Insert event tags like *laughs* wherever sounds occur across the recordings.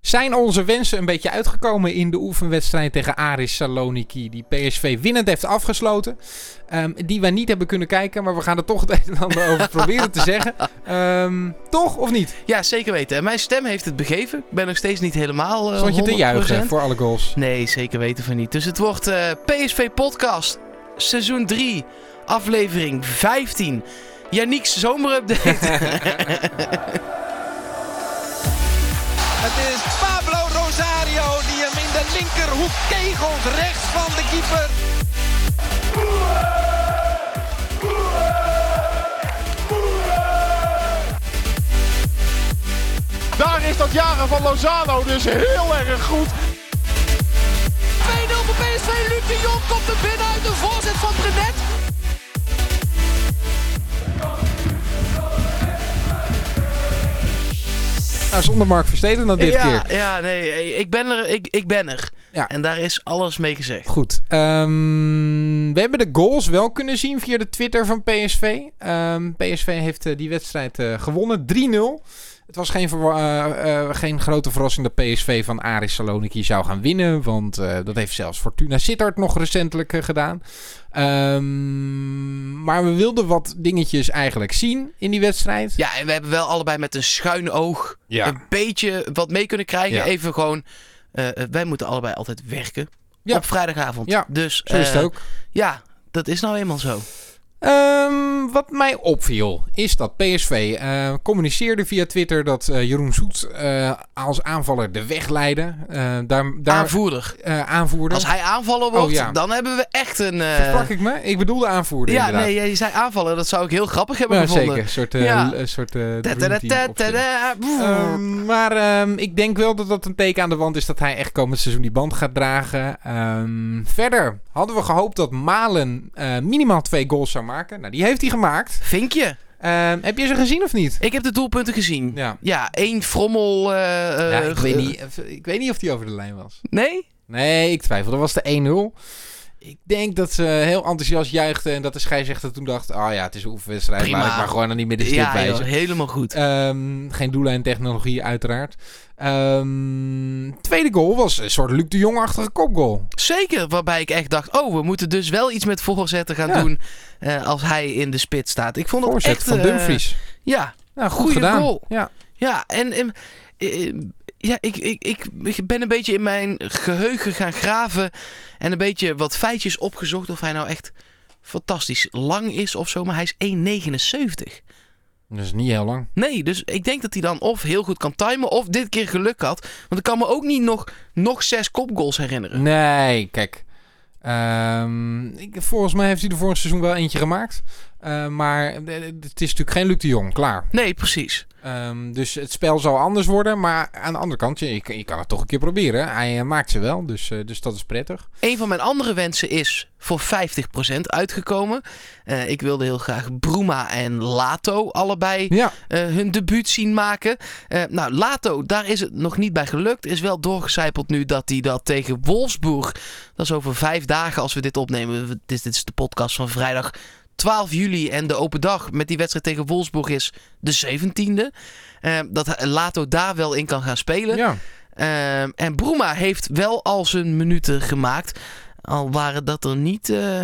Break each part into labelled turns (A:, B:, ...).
A: Zijn onze wensen een beetje uitgekomen in de oefenwedstrijd tegen Aris Saloniki, die PSV winnend heeft afgesloten? Ehm, die wij niet hebben kunnen kijken, maar we gaan er toch het een en ander over
B: *laughs*
A: proberen te zeggen. Ehm, toch of niet?
B: Ja, zeker weten. En mijn stem heeft het begeven. Ik ben nog steeds niet helemaal. eh,
A: Stond je te
B: 100%.
A: juichen voor alle goals?
B: Nee, zeker weten van niet. Dus het wordt eh, PSV Podcast, seizoen 3, aflevering 15. Yannick's zomerupdate.
C: Het is Pablo Rosario die hem in de linkerhoek kegelt, rechts van de keeper.
D: Daar is dat jaren van Lozano dus heel erg goed.
C: 2-0 voor PSV, Luc de Jong komt er binnen uit de voorzet van Brenet.
A: Nou, zonder Mark Versteden dan *laughs* dit
B: ja,
A: keer.
B: ja, nee, ik ben er. Ik, ik ben er.
A: Ja.
B: En daar is alles mee gezegd.
A: Goed. ehm, we hebben de goals wel kunnen zien via de Twitter van PSV. Ehm, PSV heeft eh, die wedstrijd eh, gewonnen. 3-0. Het was geen, verwa- eh, eh, geen grote verrassing dat PSV van Aris Saloniki zou gaan winnen. Want eh, dat heeft zelfs Fortuna Sittard nog recentelijk eh, gedaan. Ehm, maar we wilden wat dingetjes eigenlijk zien in die wedstrijd.
B: Ja, en we hebben wel allebei met een schuin oog
A: Ja.
B: een beetje wat mee kunnen krijgen.
A: Ja.
B: Even gewoon, eh, wij moeten allebei altijd werken
A: Ja.
B: op vrijdagavond.
A: Ja,
B: dus
A: Zo is het
B: eh,
A: ook.
B: ja, dat is nou eenmaal zo.
A: Ehm, wat mij opviel is dat PSV eh, communiceerde via Twitter dat eh, Jeroen Soet eh, als aanvaller de weg leidde. Eh, daar daar
B: Aanvoerder.
A: eh, aanvoerder.
B: Als hij aanvaller wordt,
A: Oh, ja.
B: dan hebben we echt een... eh,
A: Versprak ik me? Ik bedoelde aanvoerder
B: ja,
A: inderdaad.
B: nee, jij zei aanvallen. Dat zou ik heel grappig hebben
A: Ja,
B: gevonden.
A: zeker. Een soort, eh,
B: Ja.
A: l- een soort eh,
B: Ta- ta-
A: dream
B: ta-
A: team
B: ta-
A: opstelling.
B: ta- boem.
A: Ehm, maar ehm, ik denk wel dat dat een teken aan de wand is dat hij echt komend seizoen die band gaat dragen. Ehm, verder hadden we gehoopt dat Malen eh, minimaal twee goals zou maken. Nou, die heeft hij gemaakt.
B: Vinkje.
A: Ehm, heb je ze gezien of niet?
B: Ik heb de doelpunten gezien. Ja,
A: Ja.
B: één frommel... eh,
A: Ja,
B: eh,
A: ik, weet niet, of- ik weet niet of die over de lijn was.
B: Nee?
A: Nee, ik twijfel. Dat was de 1-0. Ik denk dat ze heel enthousiast juichten en dat de scheidsrechter toen dacht... Ah ja, het is een oefenwedstrijd,
B: Prima.
A: maar ik mag gewoon aan die middenstip
B: ja, joh,
A: wijzen.
B: helemaal goed.
A: Ehm, geen doellijntechnologie uiteraard. Ehm, tweede goal was een soort Luc de Jong-achtige kopgoal.
B: Zeker, waarbij ik echt dacht, oh, we moeten dus wel iets met voorzetten gaan
A: Ja.
B: doen eh, als hij in de spit staat. Ik vond het
A: Voorzet
B: echt...
A: van
B: eh,
A: Dumfries.
B: ja,
A: Nou, goed
B: goeie
A: gedaan.
B: goal.
A: Ja.
B: ja. En, en, eh, ja, ik, ik, ik, ik ben een beetje in mijn geheugen gaan graven en een beetje wat feitjes opgezocht of hij nou echt fantastisch lang is of zo. Maar hij is 1,79.
A: Dat is niet heel lang.
B: Nee, dus ik denk dat hij dan of heel goed kan timen of dit keer geluk had. Want ik kan me ook niet nog, nog zes kopgoals herinneren.
A: Nee, kijk. Ehm, ik, volgens mij heeft hij er vorig seizoen wel eentje gemaakt. Eh, maar eh, het is natuurlijk geen Luc de Jong, klaar.
B: Nee, precies.
A: Ehm, dus het spel zou anders worden. Maar aan de andere kant, je, je, je kan het toch een keer proberen. Hij eh, maakt ze wel, dus, eh, dus dat is prettig.
B: Een van mijn andere wensen is voor 50% uitgekomen. Eh, ik wilde heel graag Bruma en Lato allebei
A: Ja,
B: eh, hun debuut zien maken. Eh, nou, Lato, daar is het nog niet bij gelukt. Is wel doorgecijpeld nu dat hij dat tegen Wolfsburg. Dat is over vijf dagen als we dit opnemen. We- Dit, dit is de podcast van vrijdag 12 juli. En de open dag met die wedstrijd tegen Wolfsburg is de 17e. Eh, dat hij- Lato daar wel in kan gaan spelen.
A: ja.
B: Ehm, en Bruma heeft wel al zijn minuten gemaakt. Al waren dat er niet eh,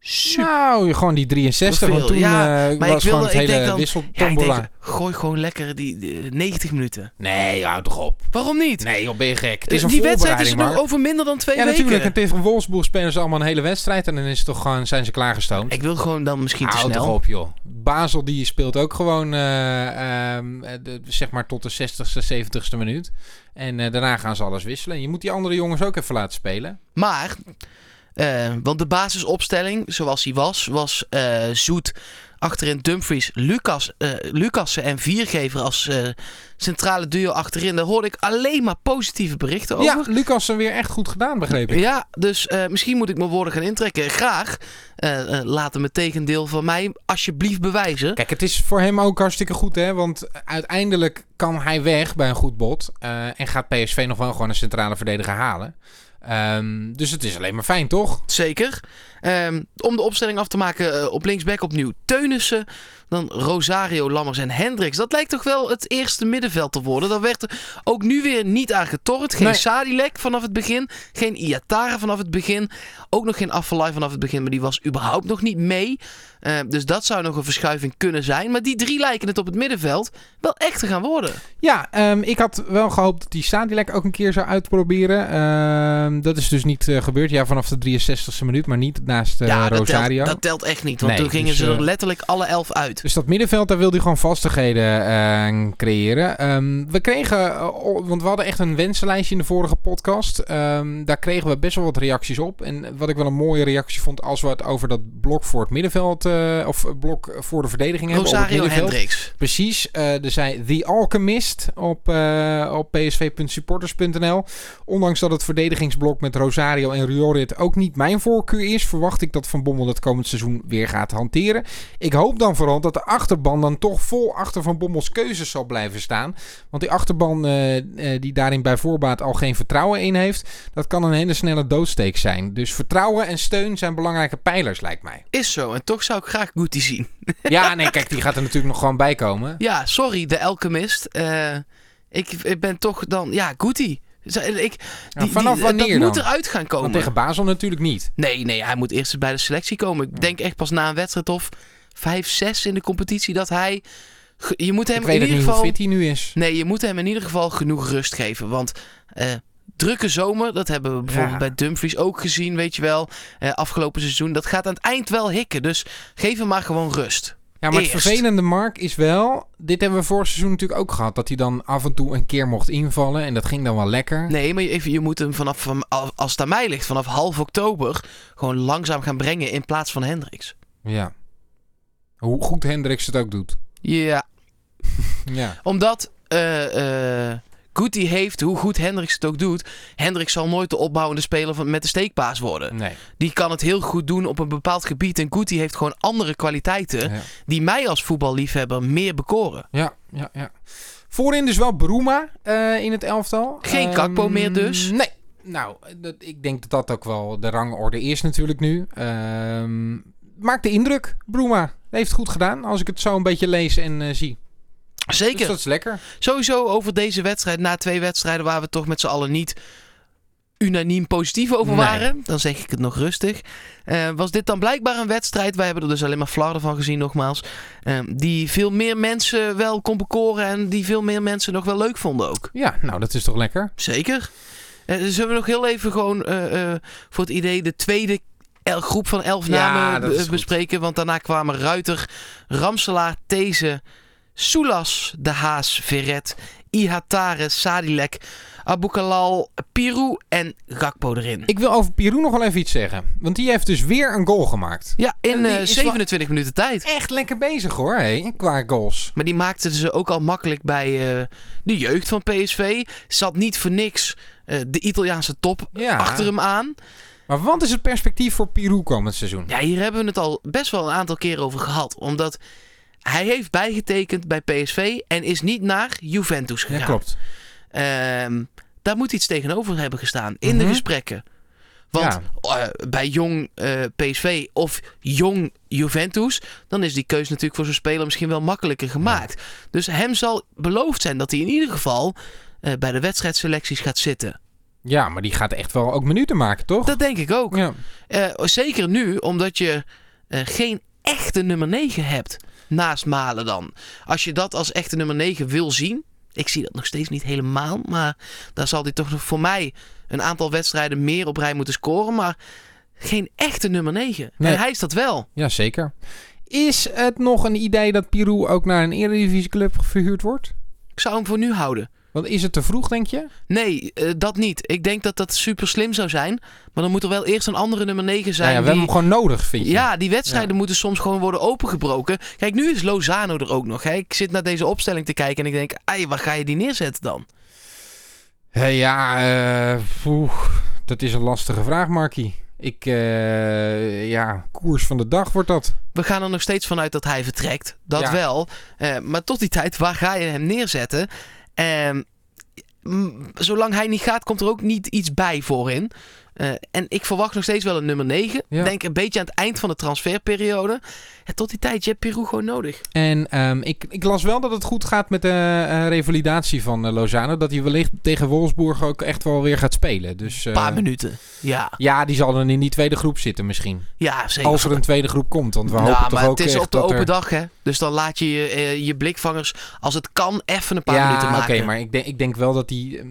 B: super.
A: Nou, gewoon die 63. Want
B: Hoeveel?
A: toen
B: Ja,
A: eh,
B: maar ik
A: was gewoon
B: wilde-
A: het
B: ik denk
A: hele
B: dan- Ja, ik
A: wisseltombola.
B: denk, gooi gewoon lekker die, die 90 minuten.
A: nee, hou toch op.
B: Waarom niet?
A: Nee, joh, ben je gek. Het
B: Dus
A: is een
B: die wedstrijd is
A: voorbereiding,
B: nog
A: Mark.
B: over minder dan twee
A: Ja,
B: weken.
A: natuurlijk. En tegen Wolfsburg spelen ze allemaal een hele wedstrijd. En dan is het toch gewoon, zijn ze klaargestoomd.
B: Ik wil gewoon dan misschien te
A: Houd
B: snel.
A: toch op, joh. Basel die speelt ook gewoon, eh, ehm, eh, de- zeg maar, tot de 60ste, 70ste minuut. En eh, daarna gaan ze alles wisselen. En je moet die andere jongens ook even laten spelen.
B: Maar, eh, want de basisopstelling zoals die was, was eh, Zoet achterin Dumfries, Lucas, eh, Lucassen en Viergever als eh, centrale duo achterin. Daar hoorde ik alleen maar positieve berichten over.
A: Ja, Lucas weer echt goed gedaan, begreep ik.
B: Ja, dus eh, misschien moet ik mijn woorden gaan intrekken. Graag. Eh, eh, laat hem het tegendeel van mij alsjeblieft bewijzen.
A: Kijk, het is voor hem ook hartstikke goed, hè? Want uiteindelijk kan hij weg bij een goed bot. eh, en gaat PSV nog wel gewoon een centrale verdediger halen. Ehm, Ehm, dus het is alleen maar fijn, toch?
B: Zeker. Ehm, om de opstelling af te maken, eh, op linksback opnieuw Teunissen. Dan Rosario, Lammers en Hendricks. Dat lijkt toch wel het eerste middenveld te worden. Daar werd er ook nu weer niet aan getornd. Geen
A: Nee.
B: Sadilek vanaf het begin. Geen Iatare vanaf het begin. Ook nog geen Afvalai vanaf het begin. Maar die was überhaupt nog niet mee. Eh, dus dat zou nog een verschuiving kunnen zijn. Maar die drie lijken het op het middenveld wel echt te gaan worden.
A: Ja, ehm, ik had wel gehoopt dat die Sadilek ook een keer zou uitproberen. Ehm, dat is dus niet eh, gebeurd. Ja, vanaf de 63ste minuut, maar niet naast eh,
B: ja, dat
A: Rosario.
B: telt, dat telt echt niet. Want
A: Nee,
B: toen gingen
A: dus,
B: ze er
A: eh,
B: letterlijk alle elf uit.
A: Dus dat middenveld, daar wilde hij gewoon vastigheden eh, creëren. Ehm, we kregen, eh, o- want we hadden echt een wensenlijstje in de vorige podcast. Ehm, daar kregen we best wel wat reacties op. En wat ik wel een mooie reactie vond, als we het over dat blok voor het middenveld, eh, of blok voor de verdediging hebben. op het
B: Rosario
A: middenveld.
B: Hendricks.
A: Precies, eh, er zei The Alchemist op, eh, op psv.supporters.nl. Ondanks dat het verdedigingsblok met Rosario en Riorit ook niet mijn voorkeur is, verwacht ik dat Van Bommel het komend seizoen weer gaat hanteren. Ik hoop dan vooral dat de achterban dan toch vol achter Van Bommels keuzes zal blijven staan. Want die achterban eh, eh, die daarin bij voorbaat al geen vertrouwen in heeft, dat kan een hele snelle doodsteek zijn. Dus vertrouwen en steun zijn belangrijke pijlers, lijkt mij.
B: Is zo. En toch zou ik graag Guti zien.
A: Ja, nee, kijk, die gaat er natuurlijk nog gewoon bij komen.
B: Ja, sorry, de Alchemist. Eh ik, ik ben toch dan... Ja, Goody. Ik,
A: Ja, vanaf wanneer
B: Dat moet
A: dan?
B: eruit gaan komen.
A: Want tegen Basel natuurlijk niet.
B: Nee, nee, hij moet eerst bij de selectie komen. Ik denk echt pas na een wedstrijd of 5, 6 in de competitie dat hij... ge- Je moet hem
A: Ik weet
B: in
A: ook
B: ieder
A: niet hoe
B: geval...
A: fit hij nu is.
B: Nee, je moet hem in ieder geval genoeg rust geven. Want eh, drukke zomer, dat hebben we bijvoorbeeld
A: Ja.
B: bij Dumfries ook gezien, weet je wel. eh, afgelopen seizoen. Dat gaat aan het eind wel hikken. Dus geef hem maar gewoon rust.
A: Ja, maar het
B: Eerst.
A: vervelende, Mark, is wel... Dit hebben we vorig seizoen natuurlijk ook gehad. Dat hij dan af en toe een keer mocht invallen. En dat ging dan wel lekker.
B: Nee, maar je, even- je moet hem vanaf, van- al- als het aan mij ligt, vanaf half oktober gewoon langzaam gaan brengen in plaats van Hendricks.
A: Ja. Hoe goed Hendricks het ook doet.
B: Ja,
A: Ja.
B: omdat eh eh Guti heeft, hoe goed Hendricks het ook doet, Hendricks zal nooit de opbouwende speler van, met de steekpaas worden.
A: Nee.
B: Die kan het heel goed doen op een bepaald gebied en Guti heeft gewoon andere kwaliteiten
A: Ja.
B: die mij als voetballiefhebber meer bekoren.
A: Ja, ja, ja. Voorin dus wel Bruma eh, in het elftal.
B: Geen
A: Ehm,
B: Gakpo meer dus?
A: Nee. Nou, dat, ik denk dat dat ook wel de rangorde is natuurlijk nu. Ehm, maakt de indruk, Bruma. Heeft goed gedaan, als ik het zo een beetje lees en eh, zie.
B: Zeker.
A: Dus dat is lekker.
B: Sowieso over deze wedstrijd, na twee wedstrijden waar we toch met z'n allen niet unaniem positief over
A: Nee.
B: waren, dan zeg ik het nog rustig, eh, was dit dan blijkbaar een wedstrijd, wij hebben er dus alleen maar flarden van gezien nogmaals, eh, die veel meer mensen wel kon bekoren en die veel meer mensen nog wel leuk vonden ook.
A: Ja, nou, dat is toch lekker?
B: Zeker. Eh, zullen we nog heel even gewoon eh, eh, voor het idee de tweede el- groep van elf
A: Ja,
B: namen
A: dat
B: be-
A: is goed.
B: bespreken, want daarna kwamen Ruiter, Ramselaar, These, Soulas, De Haas, Verret, Ihatare, Sadilek, Aboukalal, Pirou en Gakpo erin.
A: Ik wil over Pirou nog wel even iets zeggen. Want die heeft dus weer een goal gemaakt.
B: Ja,
A: En
B: in
A: die
B: eh,
A: is
B: 27 minuten tijd.
A: Echt lekker bezig hoor, hé, qua goals.
B: Maar die maakten ze ook al makkelijk bij eh, de jeugd van PSV. Zat niet voor niks eh, de Italiaanse top
A: Ja.
B: achter hem aan.
A: Maar wat is het perspectief voor Pirou komend seizoen?
B: Ja, hier hebben we het al best wel een aantal keren over gehad. Omdat hij heeft bijgetekend bij PSV en is niet naar Juventus gegaan.
A: Ja, klopt.
B: Ehm, daar moet iets tegenover hebben gestaan in de
A: Mhm.
B: gesprekken. Want eh, bij jong eh, PSV of jong Juventus, dan is die keuze natuurlijk voor zo'n speler misschien wel makkelijker gemaakt. Dus hem zal beloofd zijn dat hij in ieder geval eh, bij de wedstrijdselecties gaat zitten.
A: Ja, maar die gaat echt wel ook minuten maken, toch?
B: Dat denk ik ook.
A: Ja.
B: Eh, zeker nu, omdat je eh, geen echte nummer 9 hebt naast Malen dan. Als je dat als echte nummer 9 wil zien, ik zie dat nog steeds niet helemaal, maar daar zal hij toch nog voor mij een aantal wedstrijden meer op rij moeten scoren, maar geen echte nummer 9.
A: Nee.
B: En hij is dat wel.
A: ja, zeker. Is het nog een idee dat Pirou ook naar een eredivisieclub verhuurd wordt?
B: Ik zou hem voor nu houden.
A: Want is het te vroeg, denk je?
B: Nee, eh, dat niet. Ik denk dat dat super slim zou zijn, maar dan moet er wel eerst een andere nummer 9 zijn
A: Nou ja, we
B: die-
A: hebben hem gewoon nodig, vind je?
B: Ja, die wedstrijden moeten soms gewoon worden opengebroken. Kijk, nu is Lozano er ook nog. Hè? Ik zit naar deze opstelling te kijken en ik denk, ai, waar ga je die neerzetten dan?
A: Hé, ja, eh, poeh, dat is een lastige vraag, Markie. Ik, eh, ja, koers van de dag wordt dat.
B: We gaan er nog steeds vanuit dat hij vertrekt. Dat
A: Ja.
B: wel. Eh, maar tot die tijd, waar ga je hem neerzetten? Ehm, mm, zolang hij niet gaat, komt er ook niet iets bij voorin. Eh, en ik verwacht nog steeds wel een nummer 9.
A: Ja.
B: Denk een beetje aan het eind van de transferperiode. En tot die tijd, je hebt Peru gewoon nodig.
A: En ehm, ik, ik las wel dat het goed gaat met de eh, revalidatie van eh, Lozano. Dat hij wellicht tegen Wolfsburg ook echt wel weer gaat spelen. Dus, eh,
B: Een paar minuten. Ja,
A: Ja, die zal dan in die tweede groep zitten misschien.
B: ja zeker.
A: Als er een tweede groep komt. Want we
B: Ja,
A: hopen
B: Nou, maar
A: toch ook
B: het is
A: echt
B: op de
A: dat
B: open
A: er...
B: dag, hè? Dus dan laat je je, eh, je blikvangers, als het kan, even een paar
A: ja,
B: minuten
A: oké,
B: maken.
A: maar ik denk, ik denk wel dat hij ehm,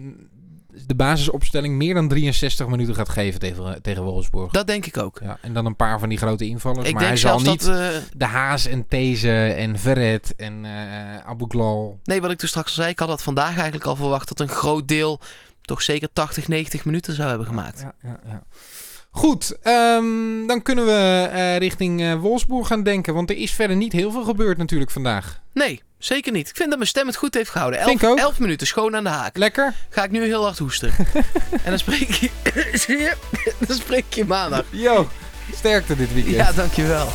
A: de basisopstelling meer dan 63 minuten gaat geven tegen, tegen Wolfsburg.
B: Dat denk ik ook.
A: Ja, en dan een paar van die grote invallers.
B: ik
A: maar
B: denk
A: hij zal
B: zelfs
A: niet
B: dat... eh,
A: de Haas en These en Verret en eh Abu Ghlal...
B: nee, wat ik toen straks al zei, ik had dat vandaag eigenlijk al verwacht... dat een groot deel toch zeker 80, 90 minuten zou hebben gemaakt.
A: Ja, ja, ja. Goed, ehm, dan kunnen we eh, richting eh, Wolfsburg gaan denken. Want er is verder niet heel veel gebeurd natuurlijk vandaag.
B: Nee, zeker niet. Ik vind dat mijn stem het goed heeft gehouden. Elf,
A: Vind ik ook.
B: elf minuten, schoon aan de haak.
A: Lekker.
B: Ga ik nu heel
A: *laughs*
B: hard hoesten. en dan spreek *laughs* je... Zie je? dan spreek ik je maandag.
A: Yo, sterkte dit weekend.
B: Ja, dankjewel.